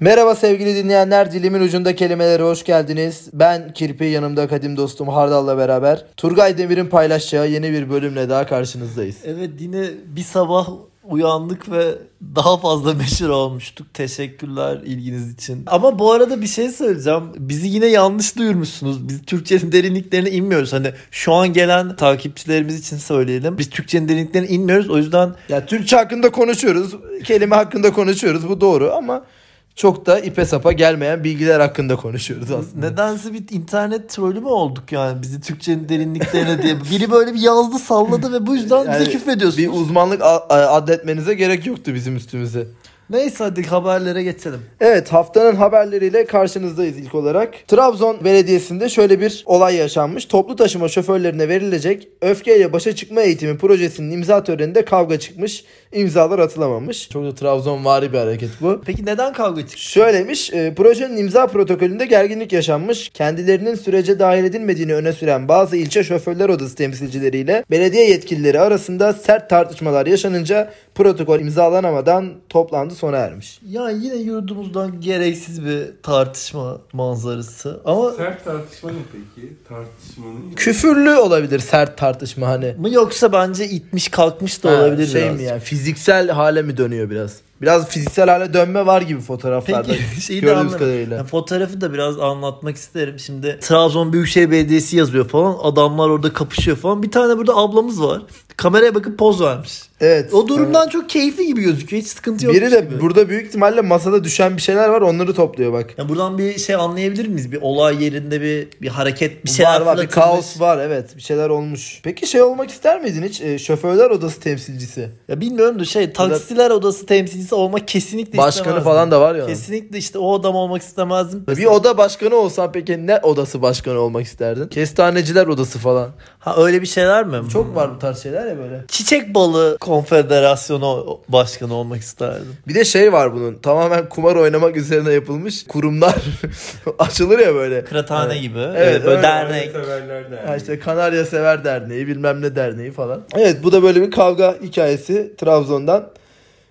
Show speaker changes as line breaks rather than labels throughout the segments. Merhaba sevgili dinleyenler. Dilimin ucunda kelimelere hoş geldiniz. Ben Kirpi, yanımda kadim dostum Hardal'la beraber Turgay Demir'in paylaşacağı yeni bir bölümle daha karşınızdayız.
Evet yine bir sabah uyandık ve daha fazla meşhur olmuştuk. Teşekkürler ilginiz için. Ama bu arada bir şey söyleyeceğim. Bizi yine yanlış duyurmuşsunuz. Biz Türkçenin derinliklerine inmiyoruz. Hani şu an gelen takipçilerimiz için söyleyelim. Biz Türkçenin derinliklerine inmiyoruz. O yüzden
Ya Türkçe hakkında konuşuyoruz, kelime hakkında konuşuyoruz bu doğru ama çok da ipe sapa gelmeyen bilgiler hakkında konuşuyoruz aslında.
nedense bir internet trolü mü olduk yani bizi Türkçenin derinliklerine diye. Biri böyle bir yazdı salladı ve bu yüzden
Yani
bize küfrediyorsunuz.
Bir uzmanlık a- a- adetmenize gerek yoktu bizim üstümüze.
Neyse hadi haberlere geçelim.
Evet haftanın haberleriyle karşınızdayız ilk olarak. Trabzon Belediyesi'nde şöyle bir olay yaşanmış. Toplu taşıma şoförlerine verilecek öfkeyle başa çıkma eğitimi projesinin imza töreninde kavga çıkmış. İmzalar atılamamış. Çok da Trabzonvari bir hareket bu.
Peki neden kavga çıktı?
Şöylemiş, e, projenin imza protokolünde gerginlik yaşanmış. Kendilerinin sürece dahil edilmediğini öne süren bazı ilçe şoförler odası temsilcileriyle belediye yetkilileri arasında sert tartışmalar yaşanınca protokol imzalanamadan toplantı sona ermiş.
Ya yine yurdumuzdan gereksiz bir tartışma manzarası. Ama
Sert tartışma ne peki? Tartışmanın...
Küfürlü olabilir sert tartışma hani.
mı yoksa bence itmiş kalkmış da
Ha,
olabilir
şey
biraz.
mi yani fiziksel hale mi dönüyor biraz? Biraz fiziksel hale dönme var gibi fotoğraflarda.
Peki şeyi de
gördüğümüz
anlamadım.
kadarıyla.
Yani fotoğrafı da biraz anlatmak isterim. Şimdi Trabzon Büyükşehir Belediyesi yazıyor falan. Adamlar orada kapışıyor falan. Bir tane burada ablamız var. Kameraya bakıp poz vermiş.
Evet.
O durumdan çok keyifli gibi gözüküyor. Hiç sıkıntı yok.
Biri de
gibi.
burada büyük ihtimalle masada düşen bir şeyler var onları topluyor bak.
Yani buradan bir şey anlayabilir miyiz? Bir olay yerinde bir bir hareket, bir şeyler
var var bir
fırlatılmış.
kaos var evet bir şeyler olmuş. Peki şey olmak ister miydin hiç E, şoförler odası temsilcisi?
Ya bilmiyorum da şey taksiler odası temsilcisi olmak kesinlikle
Başkanı
istemezdim.
falan da var ya. onun.
Kesinlikle işte o adam olmak istemezdim.
Bir oda başkanı olsan peki ne odası başkanı olmak isterdin? Kestaneciler odası falan.
ha öyle bir şeyler mi?
Çok var bu tarz şeyler ya böyle.
Çiçek balı konfederasyonu başkanı olmak isterdim.
Bir de şey var bunun tamamen kumar oynamak üzerine yapılmış kurumlar açılır ya böyle.
Kıraathane
Evet.
gibi.
Evet,
böyle
öyle,
dernek.
Severler derneği.
Ha işte Kanarya Sever Derneği bilmem ne derneği falan. Evet bu da böyle bir kavga hikayesi Trabzon'dan.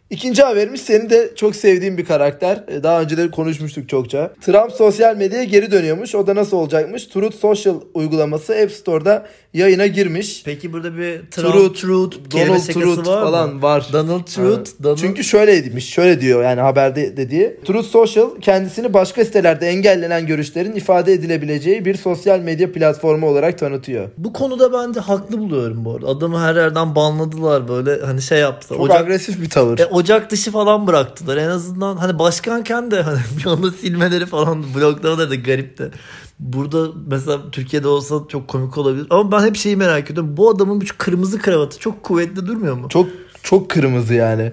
İkinci haberimiz senin de çok sevdiğim bir karakter. Ee, Daha önceleri konuşmuştuk çokça. Trump sosyal medyaya geri dönüyormuş. O da nasıl olacakmış? Truth Social uygulaması App Store'da yayına girmiş.
Peki burada bir
Truth,
Trump, Truth, kelime
Donald
şakası
Truth
var mı?
falan var.
Donald Truth,
Evet.
Donald...
Çünkü şöyleymiş, şöyle diyor yani haberde dediği. Truth Social kendisini başka sitelerde engellenen görüşlerin ifade edilebileceği bir sosyal medya platformu olarak tanıtıyor.
bu konuda bence haklı buluyorum bu arada. Adamı her yerden banladılar böyle hani şey yaptı.
Çok
Ocak,
agresif bir tavır.
e, ocak dışı falan bıraktılar. En azından hani başkanken de hani bir anda silmeleri falan bloklamaları da garipti. Burada mesela Türkiye'de olsa çok komik olabilir. Ama ben hep şeyi merak ediyorum. Bu adamın bu kırmızı kravatı çok kuvvetli durmuyor mu?
Çok çok kırmızı yani.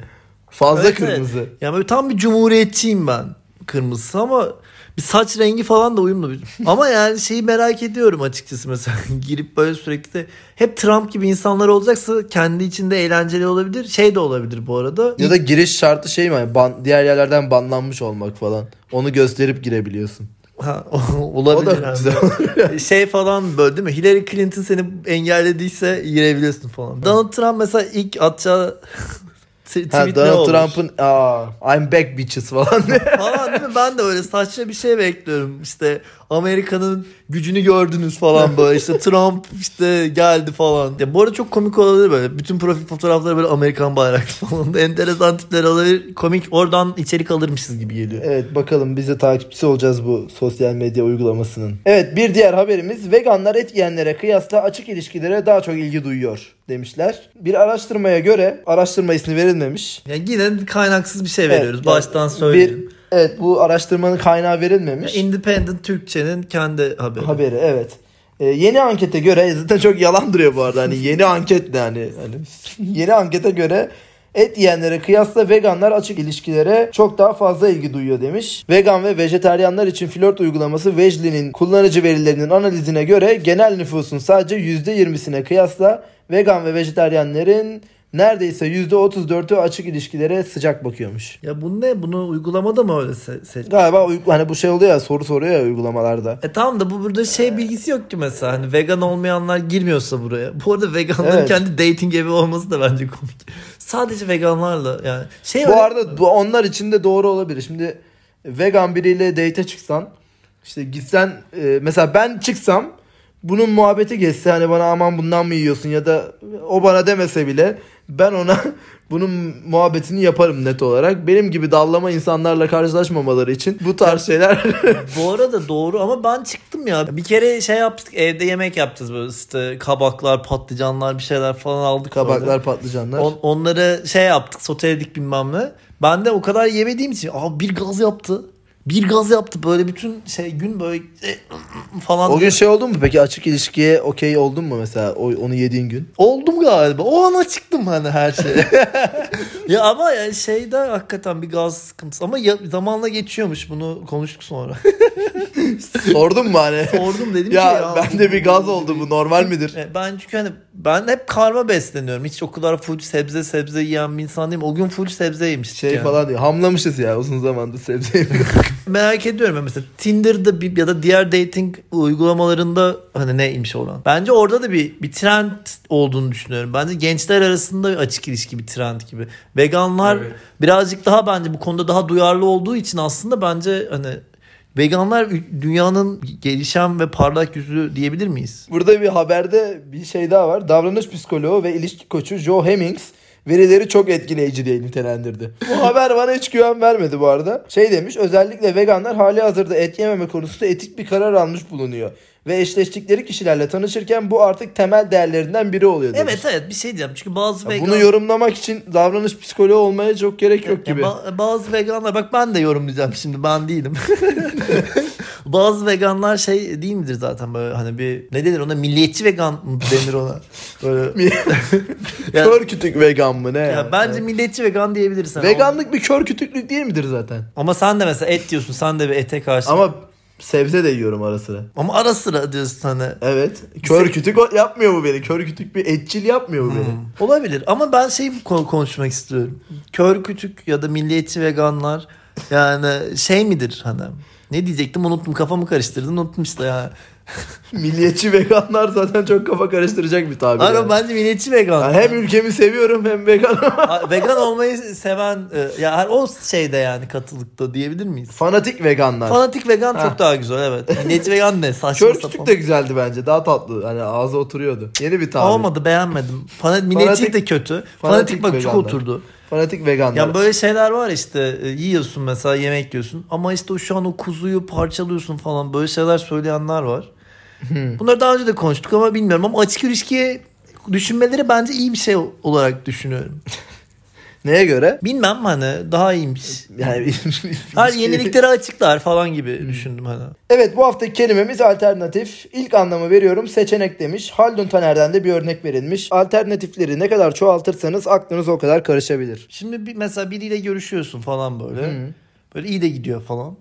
Fazla
Evet,
kırmızı.
evet. Yani böyle tam bir cumhuriyetçiyim ben kırmızısı ama bir saç rengi falan da uyumlu. bir- ama yani şeyi merak ediyorum açıkçası mesela girip böyle sürekli de hep Trump gibi insanlar olacaksa kendi içinde eğlenceli olabilir. Şey de olabilir bu arada.
Ya da giriş şartı şey mi? Yani Ban, diğer yerlerden banlanmış olmak falan. Onu gösterip girebiliyorsun.
Ha, o-
o
olabilir.
da
yani.
güzel.
şey falan böyle değil mi? Hillary Clinton seni engellediyse girebiliyorsun falan. Donald Trump mesela ilk atacağı t- tweet
ha,
ne
Donald
olur?
Trump'ın aa, I'm back bitches falan.
falan değil mi? Ben de öyle saçma bir şey bekliyorum. İşte Amerika'nın gücünü gördünüz falan böyle. İşte Trump işte geldi falan. Ya bu arada çok komik olabilir böyle. Bütün profil fotoğrafları böyle Amerikan bayraklı falan. Enteresan tipler olabilir. Komik oradan içerik alırmışız gibi geliyor.
evet bakalım biz de takipçisi olacağız bu sosyal medya uygulamasının. Evet bir diğer haberimiz veganlar et yiyenlere kıyasla açık ilişkilere daha çok ilgi duyuyor demişler. Bir araştırmaya göre araştırma ismi verilmemiş.
Yani yine kaynaksız bir şey
Evet,
veriyoruz.
yani
Baştan
bir-
söyleyeyim.
evet bu araştırmanın kaynağı verilmemiş.
Independent Türkçe'nin kendi haberi.
haberi evet. Ee, yeni ankete göre zaten çok yalan duruyor bu arada hani yeni anket de hani, hani yeni ankete göre et yiyenlere kıyasla veganlar açık ilişkilere çok daha fazla ilgi duyuyor demiş. Vegan ve vejeteryanlar için flört uygulaması Vejli'nin kullanıcı verilerinin analizine göre genel nüfusun sadece %20'sine kıyasla vegan ve vejeteryanların neredeyse %34'ü açık ilişkilere sıcak bakıyormuş.
Ya bu ne? Bunu uygulamada mı öyle se- seç-
Galiba uy- hani bu şey oluyor ya soru soruyor ya uygulamalarda.
E tamam da bu burada şey bilgisi yok ki mesela hani vegan olmayanlar girmiyorsa buraya. Bu arada veganların
Evet.
kendi dating evi olması da bence komik. Sadece veganlarla yani. Şey
Bu
öyle-
arada bu onlar için de doğru olabilir. Şimdi vegan biriyle date'e çıksan işte gitsen e, mesela ben çıksam bunun muhabbeti geçse hani bana aman bundan mı yiyorsun ya da o bana demese bile ben ona bunun muhabbetini yaparım net olarak. Benim gibi dallama insanlarla karşılaşmamaları için bu tarz şeyler
Bu arada doğru ama ben çıktım ya. Bir kere şey yaptık evde yemek yaptınız böyle işte kabaklar, patlıcanlar bir şeyler falan aldık. orada.
kabaklar patlıcanlar.
On, onları şey yaptık soteledik bilmem ne. Ben de o kadar yemediğim için abi bir gaz yaptı. Bir gaz yaptı böyle bütün şey gün böyle e, falan.
O gün şey oldun mu peki açık ilişkiye okey oldun mu mesela o, onu yediğin gün?
Oldum galiba. O ana çıktım hani her şeye. ya ama yani şeyde hakikaten bir gaz sıkıntısı. Ama ya- zamanla geçiyormuş bunu konuştuk sonra.
Sordun mu hani?
Sordum dedim
ya,
ki ya.
bende bir gaz oldu bu normal midir?
E, Ben çünkü hani ben hep karma besleniyorum. Hiç o kadar full sebze sebze yiyen bir insan değilim. O gün full sebze yemiştik
Şey
yani.
falan diyor. Hamlamışız ya uzun zamandır sebzeyi.
Merak ediyorum ya mesela Tinder'da bir, ya da diğer dating uygulamalarında hani neymiş olan. Bence orada da bir bir trend olduğunu düşünüyorum. Bence gençler arasında bir açık ilişki bir trend gibi. Veganlar
Evet.
birazcık daha bence bu konuda daha duyarlı olduğu için aslında bence hani veganlar ü- dünyanın gelişen ve parlak yüzü diyebilir miyiz?
Burada bir haberde bir şey daha var. Davranış psikoloğu ve ilişki koçu Joe Hemmings verileri çok etkileyici diye nitelendirdi. Bu haber bana hiç güven vermedi bu arada. Şey demiş özellikle veganlar hali hazırda et yememe konusunda etik bir karar almış bulunuyor. Ve eşleştikleri kişilerle tanışırken bu artık temel değerlerinden biri oluyor demiş.
Evet evet bir şey diyeceğim çünkü bazı
Ya
vegan...
Bunu yorumlamak için davranış psikoloğu olmaya çok gerek yok
Ya
gibi.
ba- bazı veganlar bak ben de yorumlayacağım şimdi ben değilim. bazı veganlar şey değil midir zaten böyle hani bir ne denir ona milliyetçi vegan mı denir ona. Böyle Ya-
kör kütük vegan mı ne?
ya
yani?
bence
Evet.
milliyetçi vegan diyebilirsin. Ama-
veganlık bir kör kütüklük değil midir zaten?
ama sen de mesela et diyorsun sen de bir ete karşı. Ama,
Ama sebze de yiyorum ara sıra.
ara sıra diyorsun hani.
Evet. Kör kütük o- yapmıyor mu beni? Kör kütük bir etçil yapmıyor mu beni?
Hmm. Olabilir ama ben şey ko- konuşmak istiyorum. Kör küçük ya da milliyetçi veganlar yani şey midir hani? Ne diyecektim unuttum kafamı karıştırdım unuttum işte ya. Hmm.
Milliyetçi veganlar zaten çok kafa karıştıracak bir tabir.
Ama
yani.
bence milliyetçi vegan.
Yani hem ülkemi seviyorum hem veganım.
Ha, vegan olmayı seven e, ya her- o şeyde yani katılıkta diyebilir miyiz?
Fanatik veganlar.
Fanatik vegan
Ha.
çok daha güzel evet. Neci vegan ne saçma
Kör kütük
sapan.
de güzeldi bence. Daha tatlı. Hani ağza oturuyordu. Yeni bir tabir.
Olmadı beğenmedim. Fanatik, milliyetçi de kötü. Fanatik, bak çok
veganlar.
oturdu.
Fanatik veganlar.
Yani böyle şeyler var işte e, yiyorsun mesela yemek yiyorsun ama işte o şu an o kuzuyu parçalıyorsun falan böyle şeyler söyleyenler var.
Hmm.
Bunları daha önce de konuştuk ama bilmiyorum ama açık ilişkiye düşünmeleri bence iyi bir şey olarak düşünüyorum.
Neye göre?
Bilmem hani daha iyiymiş.
Yani
Her yeniliklere açıklar falan gibi düşündüm hani.
Evet bu haftaki kelimemiz alternatif. İlk anlamı veriyorum seçenek demiş. Haldun Taner'den de bir örnek verilmiş. Alternatifleri ne kadar çoğaltırsanız aklınız o kadar karışabilir.
Şimdi bir, mesela biriyle görüşüyorsun falan böyle.
Hmm. Şey,
Böyle iyi de gidiyor falan.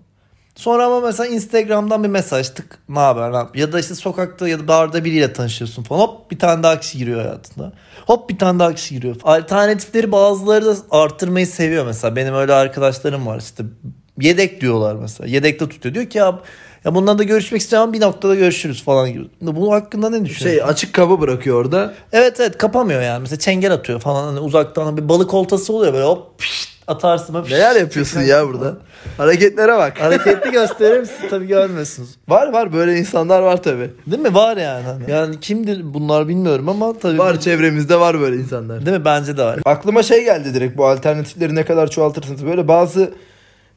Sonra ama mesela Instagram'dan bir mesaj tık ne haber ne yap- ya da işte sokakta ya da barda biriyle tanışıyorsun falan hop bir tane daha kişi giriyor hayatına. Hop bir tane daha kişi giriyor. Alternatifleri bazıları da arttırmayı seviyor mesela benim öyle arkadaşlarım var işte yedek diyorlar mesela yedekte tutuyor diyor ki ya, ya bundan da görüşmek istiyorum bir noktada görüşürüz falan gibi. Bunun hakkında ne düşünüyorsun?
Şey açık kabı bırakıyor orada.
Evet evet kapamıyor yani. Mesela çengel atıyor falan hani uzaktan bir balık oltası oluyor böyle hop pişt, atarsın. Hop,
Neler
pişt,
yapıyorsun
tekrar-
ya burada? Hareketlere bak.
Hareketli gösterir misin? Tabii görmüyorsunuz.
Var var böyle insanlar var tabi.
Değil mi? Var yani. hani. Yani kimdir bunlar bilmiyorum ama tabii.
Var çevremizde var böyle insanlar.
Değil mi? Bence de var.
Aklıma şey geldi direkt bu alternatifleri ne kadar çoğaltırsınız. Böyle bazı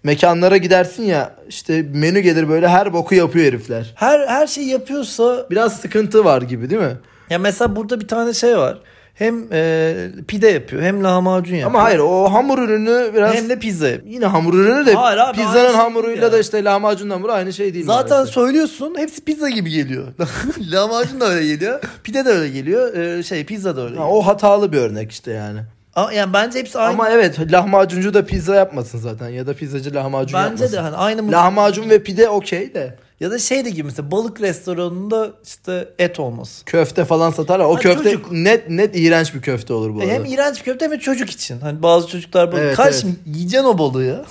mekanlara gidersin ya işte menü gelir böyle her boku yapıyor herifler.
Her her şey yapıyorsa
Biraz sıkıntı var gibi değil mi?
ya mesela burada bir tane şey var. Hem e, pide yapıyor hem lahmacun yapıyor.
Ama hayır o hamur ürünü biraz
Hem de pizza yapıyor.
Yine hamur ürünü de
Hayır abi, aynı
pizzanın
şey
hamuruyla
değil
da
yani.
işte lahmacun hamuru aynı şey değil.
Zaten
maalesef.
söylüyorsun hepsi pizza gibi geliyor. lahmacun da öyle geliyor. Pide de öyle geliyor. e, şey pizza da öyle
Ha,
geliyor.
o hatalı bir örnek işte yani.
Ama yani bence hepsi aynı.
Ama evet lahmacuncu da pizza yapmasın zaten ya da pizzacı lahmacun
Bence
yapmasın.
de hani aynı mutfak-
Lahmacun ve pide okey de
ya da şey de gibi mesela balık restoranında işte et olması.
köfte falan satarlar. O
Ha,
köfte
çocuk.
net net iğrenç bir köfte olur bu
E
arada.
hem iğrenç bir köfte hem de çocuk için. Hani bazı çocuklar böyle
Evet,
kardeşim yiyeceksin o balığı ya.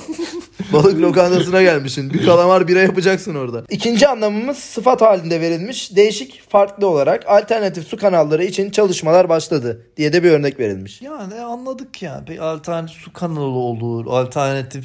Balık lokantasına gelmişsin. Bir kalamar bira yapacaksın orada. İkinci anlamımız sıfat halinde verilmiş. Değişik farklı olarak alternatif su kanalları için çalışmalar başladı diye de bir örnek verilmiş.
yani anladık yani. Bir alternatif su kanalı olur. Alternatif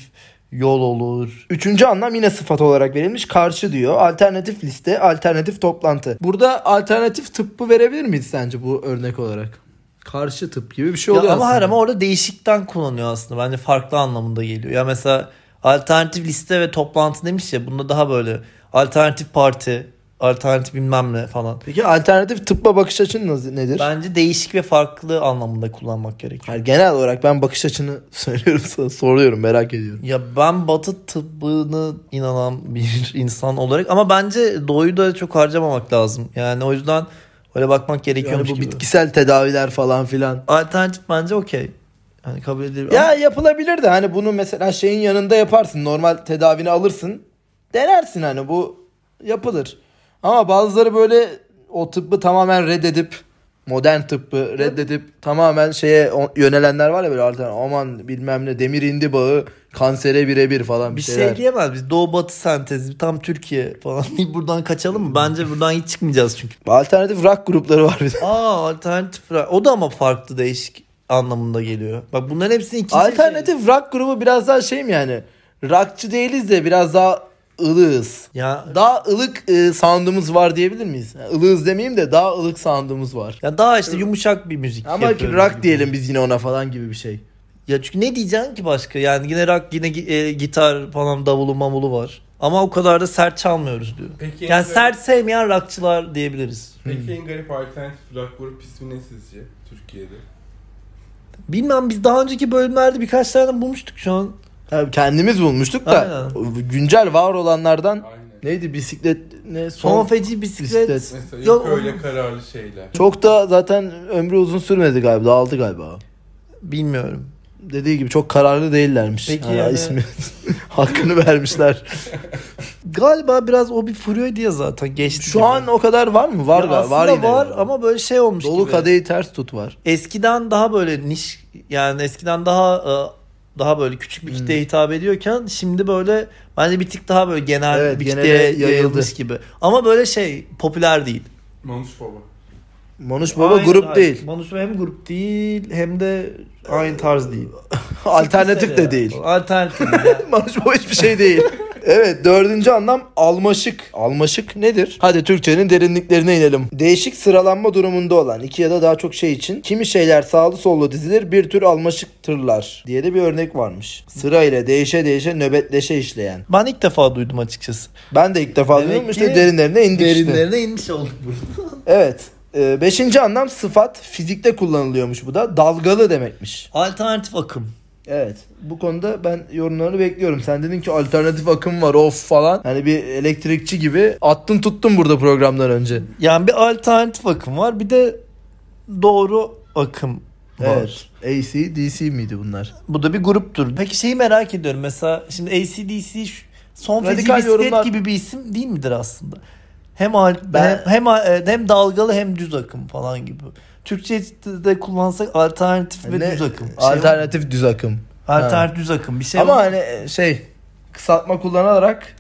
yol olur.
Üçüncü anlam yine sıfat olarak verilmiş. Karşı diyor. Alternatif liste, alternatif toplantı. Burada alternatif tıbbı verebilir miyiz sence bu örnek olarak? Karşı tıp gibi bir şey
Ya
oluyor
ama
aslında.
hayır ama orada değişikten kullanıyor aslında. Bence farklı anlamında geliyor. Ya mesela alternatif liste ve toplantı demiş ya. Bunda daha böyle alternatif parti, alternatif bilmem ne falan.
Peki alternatif tıbba bakış açın naz- nedir?
Bence değişik ve farklı anlamında kullanmak gerekiyor.
Hayır, genel olarak ben bakış açını söylüyorum sana. Soruyorum merak ediyorum.
Ya ben batı tıbbını inanan bir insan olarak ama bence doğuyu da çok harcamamak lazım. Yani o yüzden öyle bakmak
Yani bu
gerekiyormuş gibi.
bitkisel tedaviler falan filan.
Alternatif bence okey. Yani kabul edilir.
Ya yapılabilir de hani bunu mesela şeyin yanında yaparsın. Normal tedavini alırsın. Denersin hani bu yapılır. Ama bazıları böyle o tıbbı tamamen reddedip modern tıbbı reddedip tamamen şeye o- yönelenler var ya böyle artık aman bilmem ne demir indi bağı kansere birebir falan bir,
bir
şeyler.
şey diyemez biz. Doğu batı sentezi tam Türkiye falan. buradan kaçalım
Hmm.
mı? Bence buradan hiç çıkmayacağız çünkü.
Alternatif rock grupları var bir şey de.
Aa alternatif ra- o da ama farklı değişik anlamında geliyor. Bak bunların hepsini ikinci
Alternatif rock grubu biraz daha şeyim yani. Rockçı değiliz de biraz daha ılığız.
Ya
Daha ılık e, sound'umuz var diyebilir miyiz? Yani Ilığız demeyeyim de daha ılık sound'umuz var.
ya daha işte yumuşak bir müzik.
Ama ki
yapıyoruz
rock
gibi.
diyelim biz yine ona falan gibi bir şey.
Ya çünkü ne diyeceksin ki başka? Yani yine rock yine gi- e, gitar falan davulu mamulu var. Ama o kadar da sert çalmıyoruz diyor.
Peki, en
Yani
garip-
sert sevmeyen rockçılar diyebiliriz.
Peki en garip alternatif rock grup ismi ne sizce Türkiye'de?
Bilmem biz daha önceki bölümlerde birkaç tane bulmuştuk şu an.
Ha, kendimiz bulmuştuk da güncel var olanlardan
Aynen.
neydi bisiklet ne son,
Son feci bisiklet.
bisiklet.
Mesela
Yok,
yok öyle
onu-
kararlı şeyler.
Çok da zaten ömrü uzun sürmedi galiba. Dağıldı galiba.
Bilmiyorum.
Dediği gibi çok kararlı değillermiş.
Peki
Ha,
yani-
ismi hakkını vermişler.
Galiba biraz o bir furyaydı ya zaten geçti.
Şu
gibi.
an o kadar var mı?
Ya
Var galiba.
aslında
Var, yine
var
galiba.
ama böyle şey olmuş
Dolu
gibi.
kadehi ters tut var.
Eskiden daha böyle niş yani eskiden daha e, daha böyle küçük bir
Hmm.
kitleye hitap ediyorken şimdi böyle bence bir tık daha böyle genel
Evet,
bir
genele
kitleye
yayıldı.
yayılmış gibi. Ama böyle şey popüler değil.
Manuş Baba.
Manuş Baba
Aynı
grup
tarz.
değil.
Manus Baba hem grup değil hem de aynı tarz değil.
Alternatif
Kimse
de
ya.
değil.
Alternatif değil. yani.
Manuş Baba hiçbir şey değil. Evet dördüncü anlam almaşık. Almaşık nedir? Hadi Türkçenin derinliklerine inelim. Değişik sıralanma durumunda olan iki ya da daha çok şey için kimi şeyler sağlı sollu dizilir bir tür almaşıktırlar diye de bir örnek varmış. Sırayla değişe değişe nöbetleşe işleyen.
ben ilk defa duydum açıkçası.
Ben de ilk defa
Demek
duydum
ki
işte derinlerine indik işte.
Derinlerine inmiş olduk burada.
Evet. Ee, beşinci anlam sıfat fizikte kullanılıyormuş bu da dalgalı demekmiş.
Alternatif akım.
Evet. Bu konuda ben yorumlarını bekliyorum. Sen dedin ki alternatif akım var of falan. Hani bir elektrikçi gibi attın tuttun burada programdan önce.
Yani bir alternatif akım var bir de doğru akım var.
Evet. AC, DC miydi bunlar?
Bu da bir gruptur. Peki şeyi merak ediyorum. Mesela şimdi ACDC şu- son feci
Radikal
bisiklet
yorumlar-
gibi bir isim değil midir aslında? Hem al-
Ben-
hem, hem hem dalgalı hem düz akım falan gibi. Türkçe'de de kullansak alternatif ve
Hani Ne-
düz akım. Şey
alternatif düz akım.
alternatif düz akım bir şey.
Ama
Ama
hani şey kısaltma kullanarak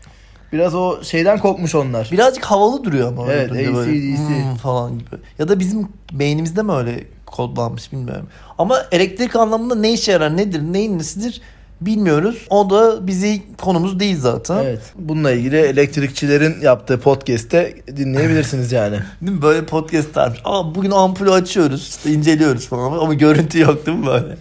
biraz o şeyden kopmuş onlar.
birazcık havalı duruyor ama. öyle
Evet,
durunca böyle,
AC/DC.
"Hmm" falan gibi. Ya da bizim beynimizde mi öyle kodlanmış bilmiyorum. Ama elektrik anlamında ne işe yarar, nedir, neyin nesidir bilmiyoruz. O da bizi konumuz değil zaten.
Evet. Bununla ilgili elektrikçilerin yaptığı podcast'te dinleyebilirsiniz yani.
Değil mi? Böyle podcastler. Aa bugün ampulü açıyoruz, işte inceliyoruz falan ama görüntü yok değil mi böyle?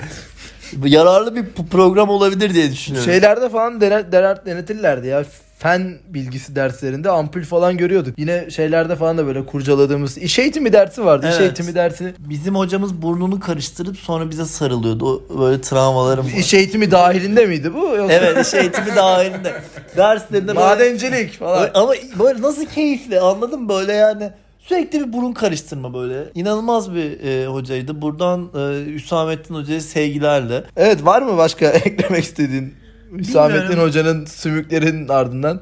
Bu Yararlı bir p- program olabilir diye düşünüyorum.
Şeylerde falan dene- dener- denetirlerdi ya. Fen bilgisi derslerinde ampul falan görüyorduk. Yine şeylerde falan da böyle kurcaladığımız iş eğitimi dersi vardı. İş
Evet.
eğitimi dersi.
Bizim hocamız burnunu karıştırıp sonra bize sarılıyordu. O böyle travmalarım var.
İş eğitimi dahilinde miydi bu? Yoksa
Evet şey iş eğitimi dahilinde. Derslerinde böyle-
Madencilik falan.
Ama böyle nasıl keyifli anladın mı? böyle yani. Sürekli bir burun karıştırma böyle. İnanılmaz bir e, hocaydı. Buradan e, Hüsamettin Hoca'ya sevgilerle.
Evet var mı başka eklemek istediğin? Hüsamettin
Bilmiyorum.
Hoca'nın sümüklerinin ardından.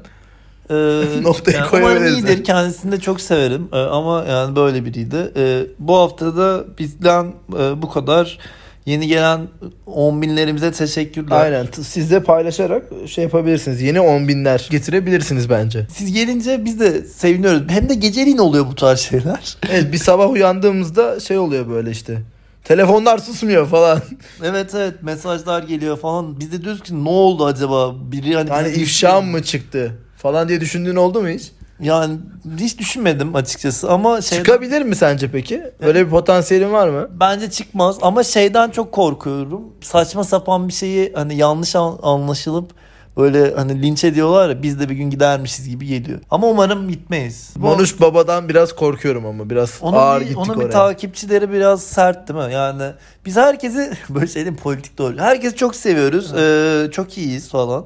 Ee,
Noktayı
yani umarım
koyamayız
iyidir.
yani.
Kendisini de çok severim. Ee, ama yani böyle biriydi. Ee, bu hafta da bizden e, bu kadar. Yeni gelen on binlerimize teşekkürler.
Aynen. T- Siz de paylaşarak şey yapabilirsiniz. Yeni 10 binler getirebilirsiniz bence.
Siz gelince biz de seviniyoruz. Hem de geceliğin oluyor bu tarz şeyler.
Evet bir sabah uyandığımızda şey oluyor böyle işte. Telefonlar susmuyor falan.
Evet evet mesajlar geliyor falan. Biz de diyoruz ki ne oldu acaba? Biri hani
Yani
bize-
ifşa mı çıktı falan diye düşündüğün oldu mu hiç?
Yani hiç düşünmedim açıkçası ama şey
Çıkabilir mi sence peki? Öyle bir potansiyelin var mı?
bence çıkmaz ama şeyden çok korkuyorum. Saçma sapan bir şeyi hani yanlış an- anlaşılıp böyle hani linç ediyorlar ya biz de bir gün gidermişiz gibi geliyor. Ama umarım gitmeyiz. Bu-
Manuş Baba'dan biraz korkuyorum ama biraz
Onun
ağır
bir,
gittik
onun bir
oraya.
takipçileri biraz sert değil mi? Yani biz herkesi böyle şey değil mi? politik doğru. Herkesi çok seviyoruz. Ee, çok iyiyiz falan.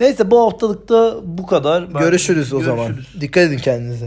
Neyse bu haftalıkta bu kadar. Ben-
Görüşürüz o zaman.
Görüşürüz.
Dikkat edin kendinize.